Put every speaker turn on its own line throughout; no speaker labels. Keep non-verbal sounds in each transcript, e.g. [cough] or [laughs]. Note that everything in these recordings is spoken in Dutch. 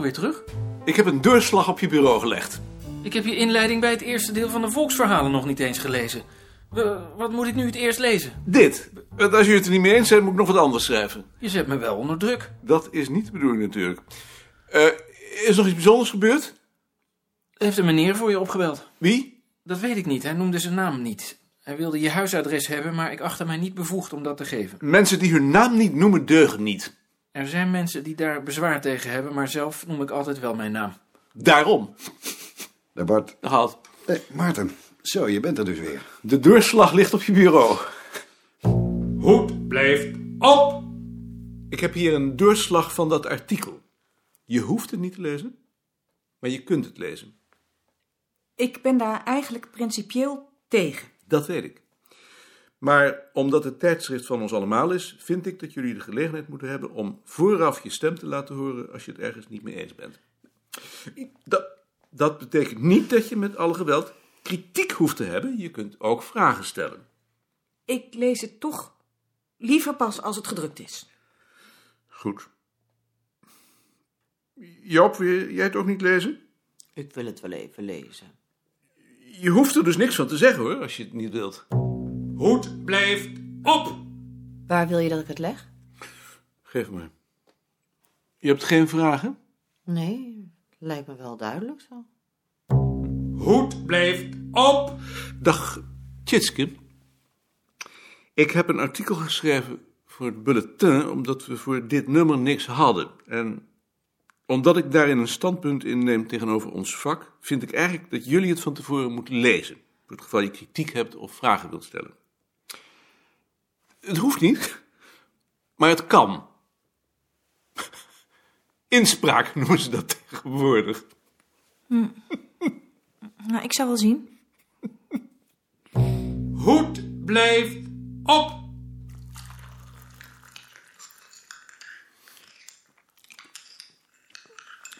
weer terug?
Ik heb een deurslag op je bureau gelegd.
Ik heb je inleiding bij het eerste deel van de volksverhalen nog niet eens gelezen. Wa- wat moet ik nu het eerst lezen?
Dit. Eh, Want als jullie het er niet mee eens zijn, moet ik nog wat anders schrijven.
Je zet me wel onder druk.
Dat is niet de bedoeling natuurlijk. Eh, is nog iets bijzonders gebeurd?
Heeft een meneer voor je opgebeld?
Wie?
Dat weet ik niet, hij noemde zijn naam niet. Hij wilde je huisadres hebben, maar ik achtte mij niet bevoegd om dat te geven.
Mensen die hun naam niet noemen, deugen niet.
Er zijn mensen die daar bezwaar tegen hebben, maar zelf noem ik altijd wel mijn naam.
Daarom.
Daar Bart.
Dag, Ad.
Hé, Maarten. Zo, je bent er dus weer.
De deurslag ligt op je bureau.
Hoed blijft op.
Ik heb hier een deurslag van dat artikel. Je hoeft het niet te lezen, maar je kunt het lezen.
Ik ben daar eigenlijk principieel tegen.
Dat weet ik. Maar omdat het tijdschrift van ons allemaal is, vind ik dat jullie de gelegenheid moeten hebben om vooraf je stem te laten horen als je het ergens niet mee eens bent. Dat, dat betekent niet dat je met alle geweld kritiek hoeft te hebben. Je kunt ook vragen stellen.
Ik lees het toch liever pas als het gedrukt is.
Goed. Joop, wil jij het ook niet lezen?
Ik wil het wel even lezen.
Je hoeft er dus niks van te zeggen hoor, als je het niet wilt.
Hoed blijft op.
Waar wil je dat ik het leg?
Geef maar. Je hebt geen vragen?
Nee, lijkt me wel duidelijk zo.
Hoed blijft op.
Dag, Tjitske. Ik heb een artikel geschreven voor het bulletin, omdat we voor dit nummer niks hadden. En omdat ik daarin een standpunt inneem tegenover ons vak, vind ik eigenlijk dat jullie het van tevoren moeten lezen. Voor het geval je kritiek hebt of vragen wilt stellen. Het hoeft niet, maar het kan. [laughs] Inspraak noemen ze dat tegenwoordig.
Nou, ik zou wel zien.
Hoed blijft op.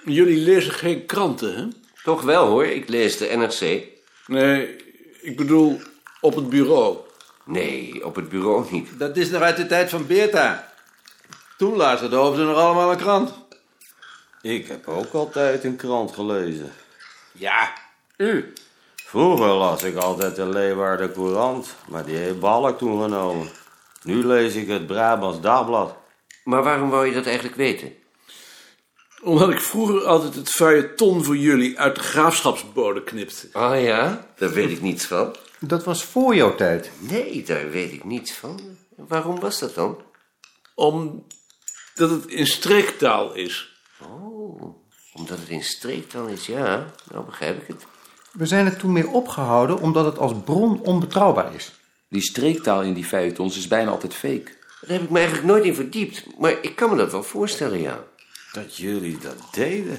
Jullie lezen geen kranten, hè?
Toch wel hoor, ik lees de NRC.
Nee, ik bedoel op het bureau.
Nee, op het bureau niet.
Dat is nog uit de tijd van Beerta. Toen lazen de hoofden nog allemaal een krant.
Ik heb ook altijd een krant gelezen.
Ja,
U?
Vroeger las ik altijd de Leeuwarden Courant, maar die heeft Balk toen genomen. Nu lees ik het Brabants Dagblad.
Maar waarom wou je dat eigenlijk weten?
Omdat ik vroeger altijd het feuilleton voor jullie uit de graafschapsbode knipte.
Ah ja? Daar weet ik niets van.
Dat was voor jouw tijd.
Nee, daar weet ik niets van. Waarom was dat dan?
Omdat het in streektaal is.
Oh, omdat het in streektaal is, ja. Nou begrijp ik het.
We zijn er toen mee opgehouden omdat het als bron onbetrouwbaar is.
Die streektaal in die feuilletons is bijna altijd fake.
Daar heb ik me eigenlijk nooit in verdiept. Maar ik kan me dat wel voorstellen, ja.
Dat jullie dat deden.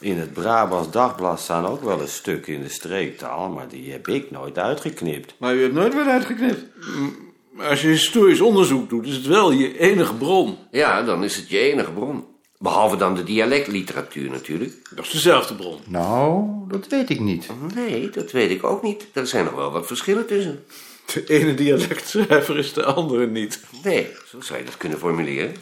In het Brabants Dagblad staan ook wel eens stukken in de streektaal, maar die heb ik nooit uitgeknipt.
maar u hebt nooit weer uitgeknipt.
Maar als je historisch onderzoek doet, is het wel je enige bron.
Ja, dan is het je enige bron. Behalve dan de dialectliteratuur natuurlijk.
Dat is dezelfde bron.
Nou, dat weet ik niet.
Nee, dat weet ik ook niet. Er zijn nog wel wat verschillen tussen.
De ene dialectschrijver is de andere niet.
Nee, zo zou je dat kunnen formuleren.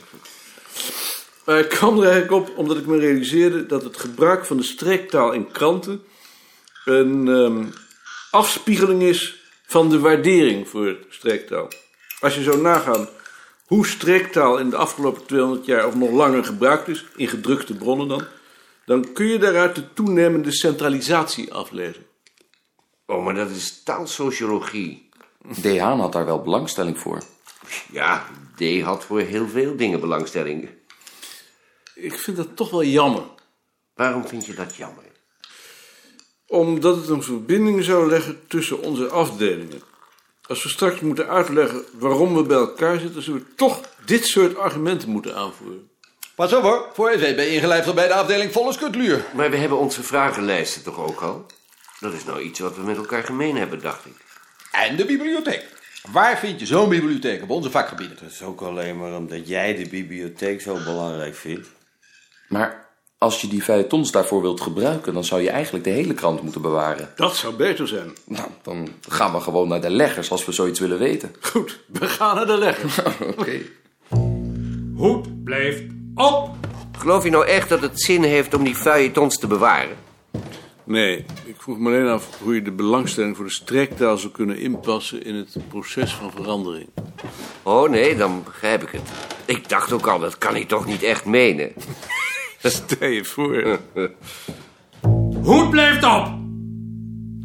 Maar ik kwam er eigenlijk op omdat ik me realiseerde dat het gebruik van de streektaal in kranten een ehm, afspiegeling is van de waardering voor streektaal. Als je zou nagaan hoe streektaal in de afgelopen 200 jaar of nog langer gebruikt is, in gedrukte bronnen dan, dan kun je daaruit de toenemende centralisatie aflezen.
Oh, maar dat is taalsociologie.
De Haan had daar wel belangstelling voor.
Ja, D had voor heel veel dingen belangstelling.
Ik vind dat toch wel jammer,
Waarom vind je dat jammer?
omdat het een verbinding zou leggen tussen onze afdelingen. Als we straks moeten uitleggen waarom we bij elkaar zitten, zullen we toch dit soort argumenten moeten aanvoeren.
Pas op hoor, voor je weet ben je ingelijfd bij de afdeling Volkskutluur.
Maar we hebben onze vragenlijsten toch ook al? Dat is nou iets wat we met elkaar gemeen hebben, dacht ik.
En de bibliotheek. Waar vind je zo'n bibliotheek op onze vakgebieden?
Dat is ook alleen maar omdat jij de bibliotheek zo belangrijk vindt.
Maar als je die feuilletons daarvoor wilt gebruiken, dan zou je eigenlijk de hele krant moeten bewaren.
Dat zou beter zijn.
Nou, dan gaan we gewoon naar de leggers als we zoiets willen weten.
Goed,
[laughs]
we gaan naar de legger.
Oké.
Hoed blijft op.
Geloof je nou echt dat het zin heeft om die feuilletons te bewaren?
Nee, ik vroeg me alleen af hoe je de belangstelling voor de strektaal zou kunnen inpassen in het proces van verandering.
Oh nee, dan begrijp ik het. Ik dacht ook al, dat kan hij toch niet echt menen?
[laughs] Stel je [laughs] voor.
Hoed blijft op!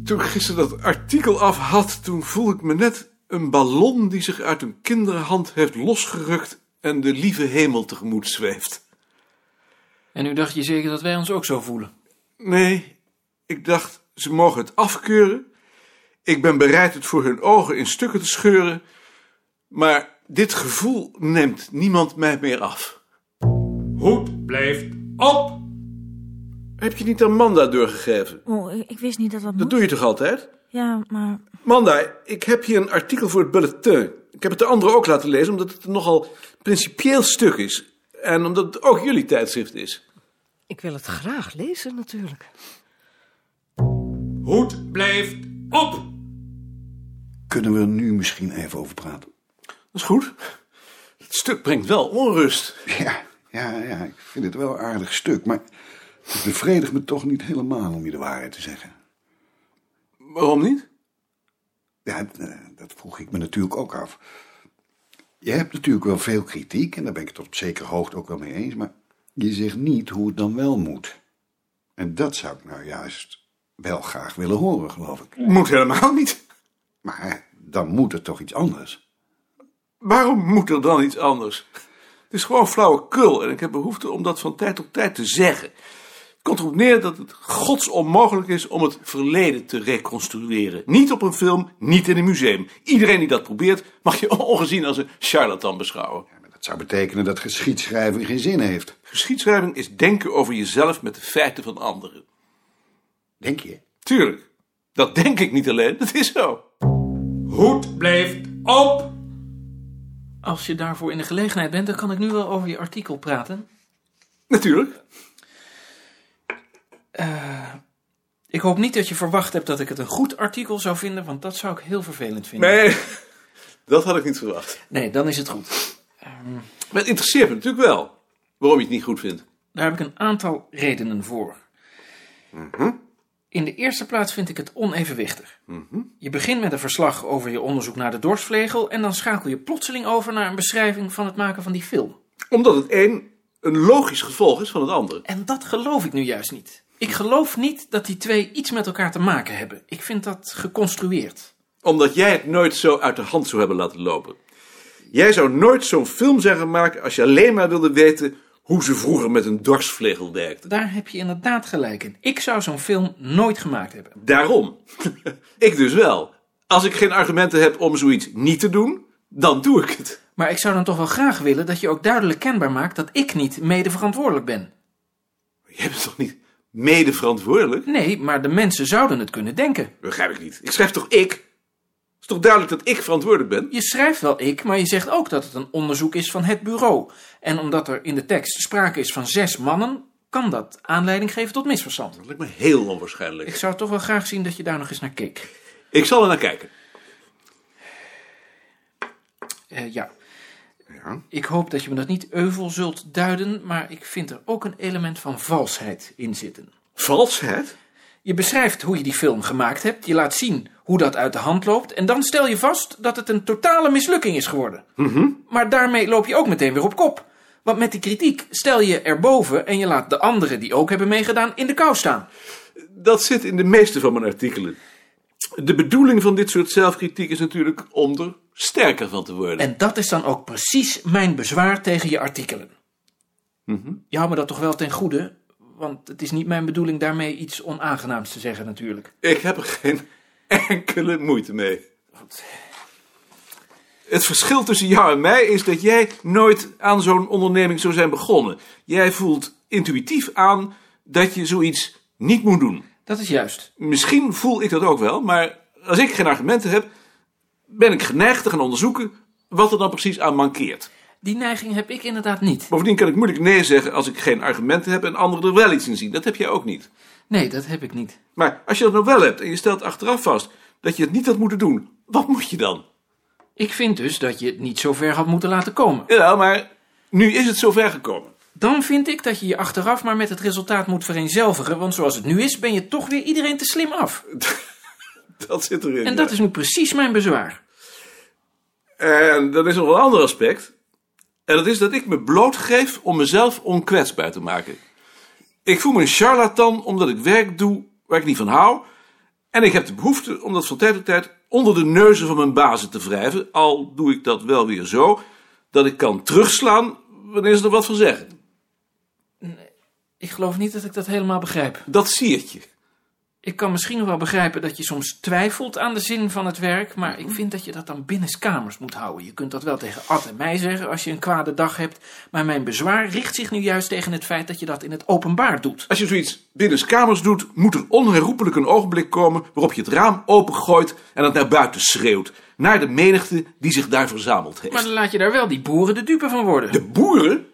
Toen ik gisteren dat artikel af had, toen voelde ik me net een ballon die zich uit een kinderhand heeft losgerukt en de lieve hemel tegemoet zweeft.
En nu dacht je zeker dat wij ons ook zo voelen?
Nee, ik dacht, ze mogen het afkeuren. Ik ben bereid het voor hun ogen in stukken te scheuren. Maar dit gevoel neemt niemand mij meer af.
Hoed blijft op!
Heb je niet aan Manda doorgegeven?
Oh, ik, ik wist niet dat dat
Dat
moest.
doe je toch altijd?
Ja, maar...
Manda, ik heb hier een artikel voor het bulletin. Ik heb het de anderen ook laten lezen, omdat het een nogal principieel stuk is. En omdat het ook jullie tijdschrift is.
Ik wil het graag lezen, natuurlijk.
Hoed blijft op!
Kunnen we er nu misschien even over praten?
Dat is goed. Het stuk brengt wel onrust.
Ja, ja, ja. Ik vind het wel een aardig stuk, maar het bevredigt me toch niet helemaal om je de waarheid te zeggen.
Waarom niet?
Ja, eh, dat vroeg ik me natuurlijk ook af. Je hebt natuurlijk wel veel kritiek, en daar ben ik het op zekere hoogte ook wel mee eens, maar je zegt niet hoe het dan wel moet. En dat zou ik nou juist wel graag willen horen, geloof ik.
Moet helemaal niet.
Maar dan moet het toch iets anders.
Waarom moet er dan iets anders? Het is gewoon flauwekul en ik heb behoefte om dat van tijd tot tijd te zeggen. Het komt erop neer dat het gods onmogelijk is om het verleden te reconstrueren. Niet op een film, niet in een museum. Iedereen die dat probeert mag je [laughs] ongezien als een charlatan beschouwen.
Dat zou betekenen dat geschiedschrijving geen zin heeft.
Geschiedschrijving is denken over jezelf met de feiten van anderen.
Denk je?
Tuurlijk. Dat denk ik niet alleen, dat is zo.
Hoed blijft op!
Als je daarvoor in de gelegenheid bent, dan kan ik nu wel over je artikel praten.
Natuurlijk.
Ik hoop niet dat je verwacht hebt dat ik het een goed artikel zou vinden, want dat zou ik heel vervelend vinden.
Nee, [laughs] dat had ik niet verwacht.
Nee, dan is het goed.
Maar het interesseert me natuurlijk wel waarom je het niet goed vindt.
Daar heb ik een aantal redenen voor. In de eerste plaats vind ik het onevenwichtig. Je begint met een verslag over je onderzoek naar de dorsvlegel en dan schakel je plotseling over naar een beschrijving van het maken van die film.
Omdat het een een logisch gevolg is van het andere.
En dat geloof ik nu juist niet. Ik geloof niet dat die twee iets met elkaar te maken hebben. Ik vind dat geconstrueerd.
Omdat jij het nooit zo uit de hand zou hebben laten lopen. Jij zou nooit zo'n film zijn gaan maken als je alleen maar wilde weten hoe ze vroeger met een dorsvlegel werkte.
Daar heb je inderdaad gelijk in. Ik zou zo'n film nooit gemaakt hebben.
Daarom. [laughs] ik dus wel. Als ik geen argumenten heb om zoiets niet te doen, dan doe ik het.
Maar ik zou dan toch wel graag willen dat je ook duidelijk kenbaar maakt dat ik niet mede verantwoordelijk ben.
Jij bent toch niet mede verantwoordelijk?
Nee, maar de mensen zouden het kunnen denken.
Begrijp ik niet. Ik schrijf toch ik? Het is toch duidelijk dat ik verantwoordelijk ben?
Je schrijft wel ik, maar je zegt ook dat het een onderzoek is van het bureau. En omdat er in de tekst sprake is van zes mannen, kan dat aanleiding geven tot misverstand.
Dat lijkt me heel onwaarschijnlijk.
Ik zou toch wel graag zien dat je daar nog eens naar keek.
Ik zal er naar kijken.
Eh, ja. Ik hoop dat je me dat niet euvel zult duiden, maar ik vind er ook een element van valsheid in zitten.
Valsheid?
Je beschrijft hoe je die film gemaakt hebt, je laat zien hoe dat uit de hand loopt en dan stel je vast dat het een totale mislukking is geworden. Maar daarmee loop je ook meteen weer op kop. Want met die kritiek stel je erboven en je laat de anderen die ook hebben meegedaan in de kou staan.
Dat zit in de meeste van mijn artikelen. De bedoeling van dit soort zelfkritiek is natuurlijk om er sterker van te worden.
En dat is dan ook precies mijn bezwaar tegen je artikelen. Je houdt me dat toch wel ten goede, want het is niet mijn bedoeling daarmee iets onaangenaams te zeggen natuurlijk.
Ik heb er geen enkele moeite mee. Het verschil tussen jou en mij is dat jij nooit aan zo'n onderneming zou zijn begonnen. Jij voelt intuïtief aan dat je zoiets niet moet doen.
Dat is juist.
Misschien voel ik dat ook wel, maar als ik geen argumenten heb, ben ik geneigd te gaan onderzoeken wat er dan precies aan mankeert.
Die neiging heb ik inderdaad niet.
Bovendien kan ik moeilijk nee zeggen als ik geen argumenten heb en anderen er wel iets in zien. Dat heb jij ook niet.
Nee, dat heb ik niet.
Maar als je dat nou wel hebt en je stelt achteraf vast dat je het niet had moeten doen, wat moet je dan?
Ik vind dus dat je het niet zo ver had moeten laten komen.
Ja, maar nu is het zover gekomen.
Dan vind ik dat je je achteraf maar met het resultaat moet vereenzelvigen. Want zoals het nu is, ben je toch weer iedereen te slim af.
Dat zit erin.
En dat
ja.
is nu precies mijn bezwaar.
En dan is er nog een ander aspect. En dat is dat ik me blootgeef om mezelf onkwetsbaar te maken. Ik voel me een charlatan omdat ik werk doe waar ik niet van hou. En ik heb de behoefte om dat van tijd tot tijd onder de neuzen van mijn bazen te wrijven. Al doe ik dat wel weer zo dat ik kan terugslaan wanneer ze er wat van zeggen.
Ik geloof niet dat ik dat helemaal begrijp.
Dat siertje.
Ik kan misschien nog wel begrijpen dat je soms twijfelt aan de zin van het werk, maar ik vind dat je dat dan binnenskamers moet houden. Je kunt dat wel tegen Ad en mij zeggen als je een kwade dag hebt, maar mijn bezwaar richt zich nu juist tegen het feit dat je dat in het openbaar doet.
Als je zoiets binnenskamers doet, moet er onherroepelijk een ogenblik komen waarop je het raam opengooit en het naar buiten schreeuwt. Naar de menigte die zich daar verzameld heeft.
Maar dan laat je daar wel die boeren de dupe van worden.
De boeren?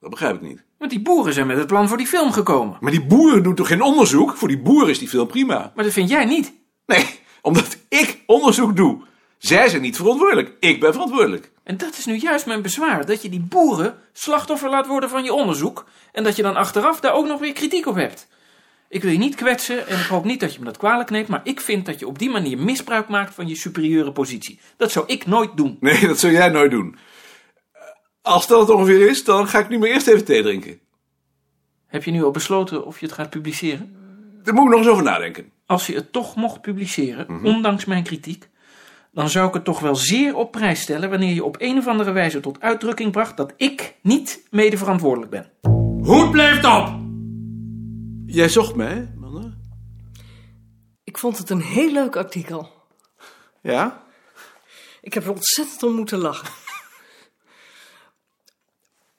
Dat begrijp ik niet.
Want die boeren zijn met het plan voor die film gekomen.
Maar die boeren doen toch geen onderzoek? Voor die boeren is die film prima.
Maar dat vind jij niet.
Nee, omdat ik onderzoek doe. Zij zijn niet verantwoordelijk. Ik ben verantwoordelijk.
En dat is nu juist mijn bezwaar, dat je die boeren slachtoffer laat worden van je onderzoek en dat je dan achteraf daar ook nog weer kritiek op hebt. Ik wil je niet kwetsen en ik hoop niet dat je me dat kwalijk neemt, maar ik vind dat je op die manier misbruik maakt van je superieure positie. Dat zou ik nooit doen.
Nee, dat zul jij nooit doen. Als dat het ongeveer is, dan ga ik nu maar eerst even thee drinken.
Heb je nu al besloten of je het gaat publiceren?
Daar moet ik nog eens over nadenken.
Als je het toch mocht publiceren, ondanks mijn kritiek, dan zou ik het toch wel zeer op prijs stellen wanneer je op een of andere wijze tot uitdrukking bracht dat ik niet mede verantwoordelijk ben.
Hoed blijft op!
Jij zocht mij, man.
Ik vond het een heel leuk artikel.
Ja?
Ik heb er ontzettend om moeten lachen. [laughs]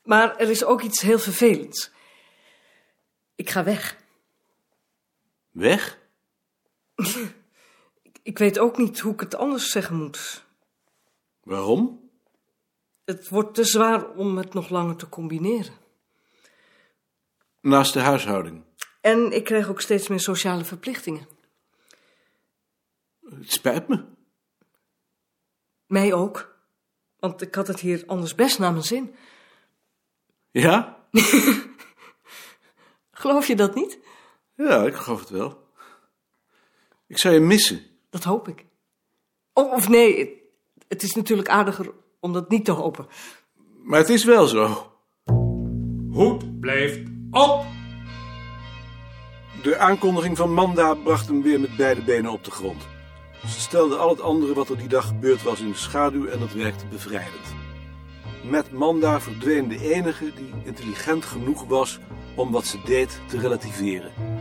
Maar er is ook iets heel vervelends. Ik ga weg.
Weg?
Ik weet ook niet hoe ik het anders zeggen moet.
Waarom?
Het wordt te zwaar om het nog langer te combineren.
Naast de huishouding.
En ik krijg ook steeds meer sociale verplichtingen.
Het spijt me.
Mij ook. Want ik had het hier anders best naar mijn zin.
Ja?
Geloof je dat niet?
Ja, ik geloof het wel. Ik zou je missen.
Dat hoop ik. Oh, of nee, het, het is natuurlijk aardiger om dat niet te hopen.
Maar het is wel zo.
Hoed blijft op!
De aankondiging van Manda bracht hem weer met beide benen op de grond. Ze stelde al het andere wat er die dag gebeurd was in de schaduw en dat werkte bevrijdend. Met Manda verdween de enige die intelligent genoeg was om wat ze deed te relativeren.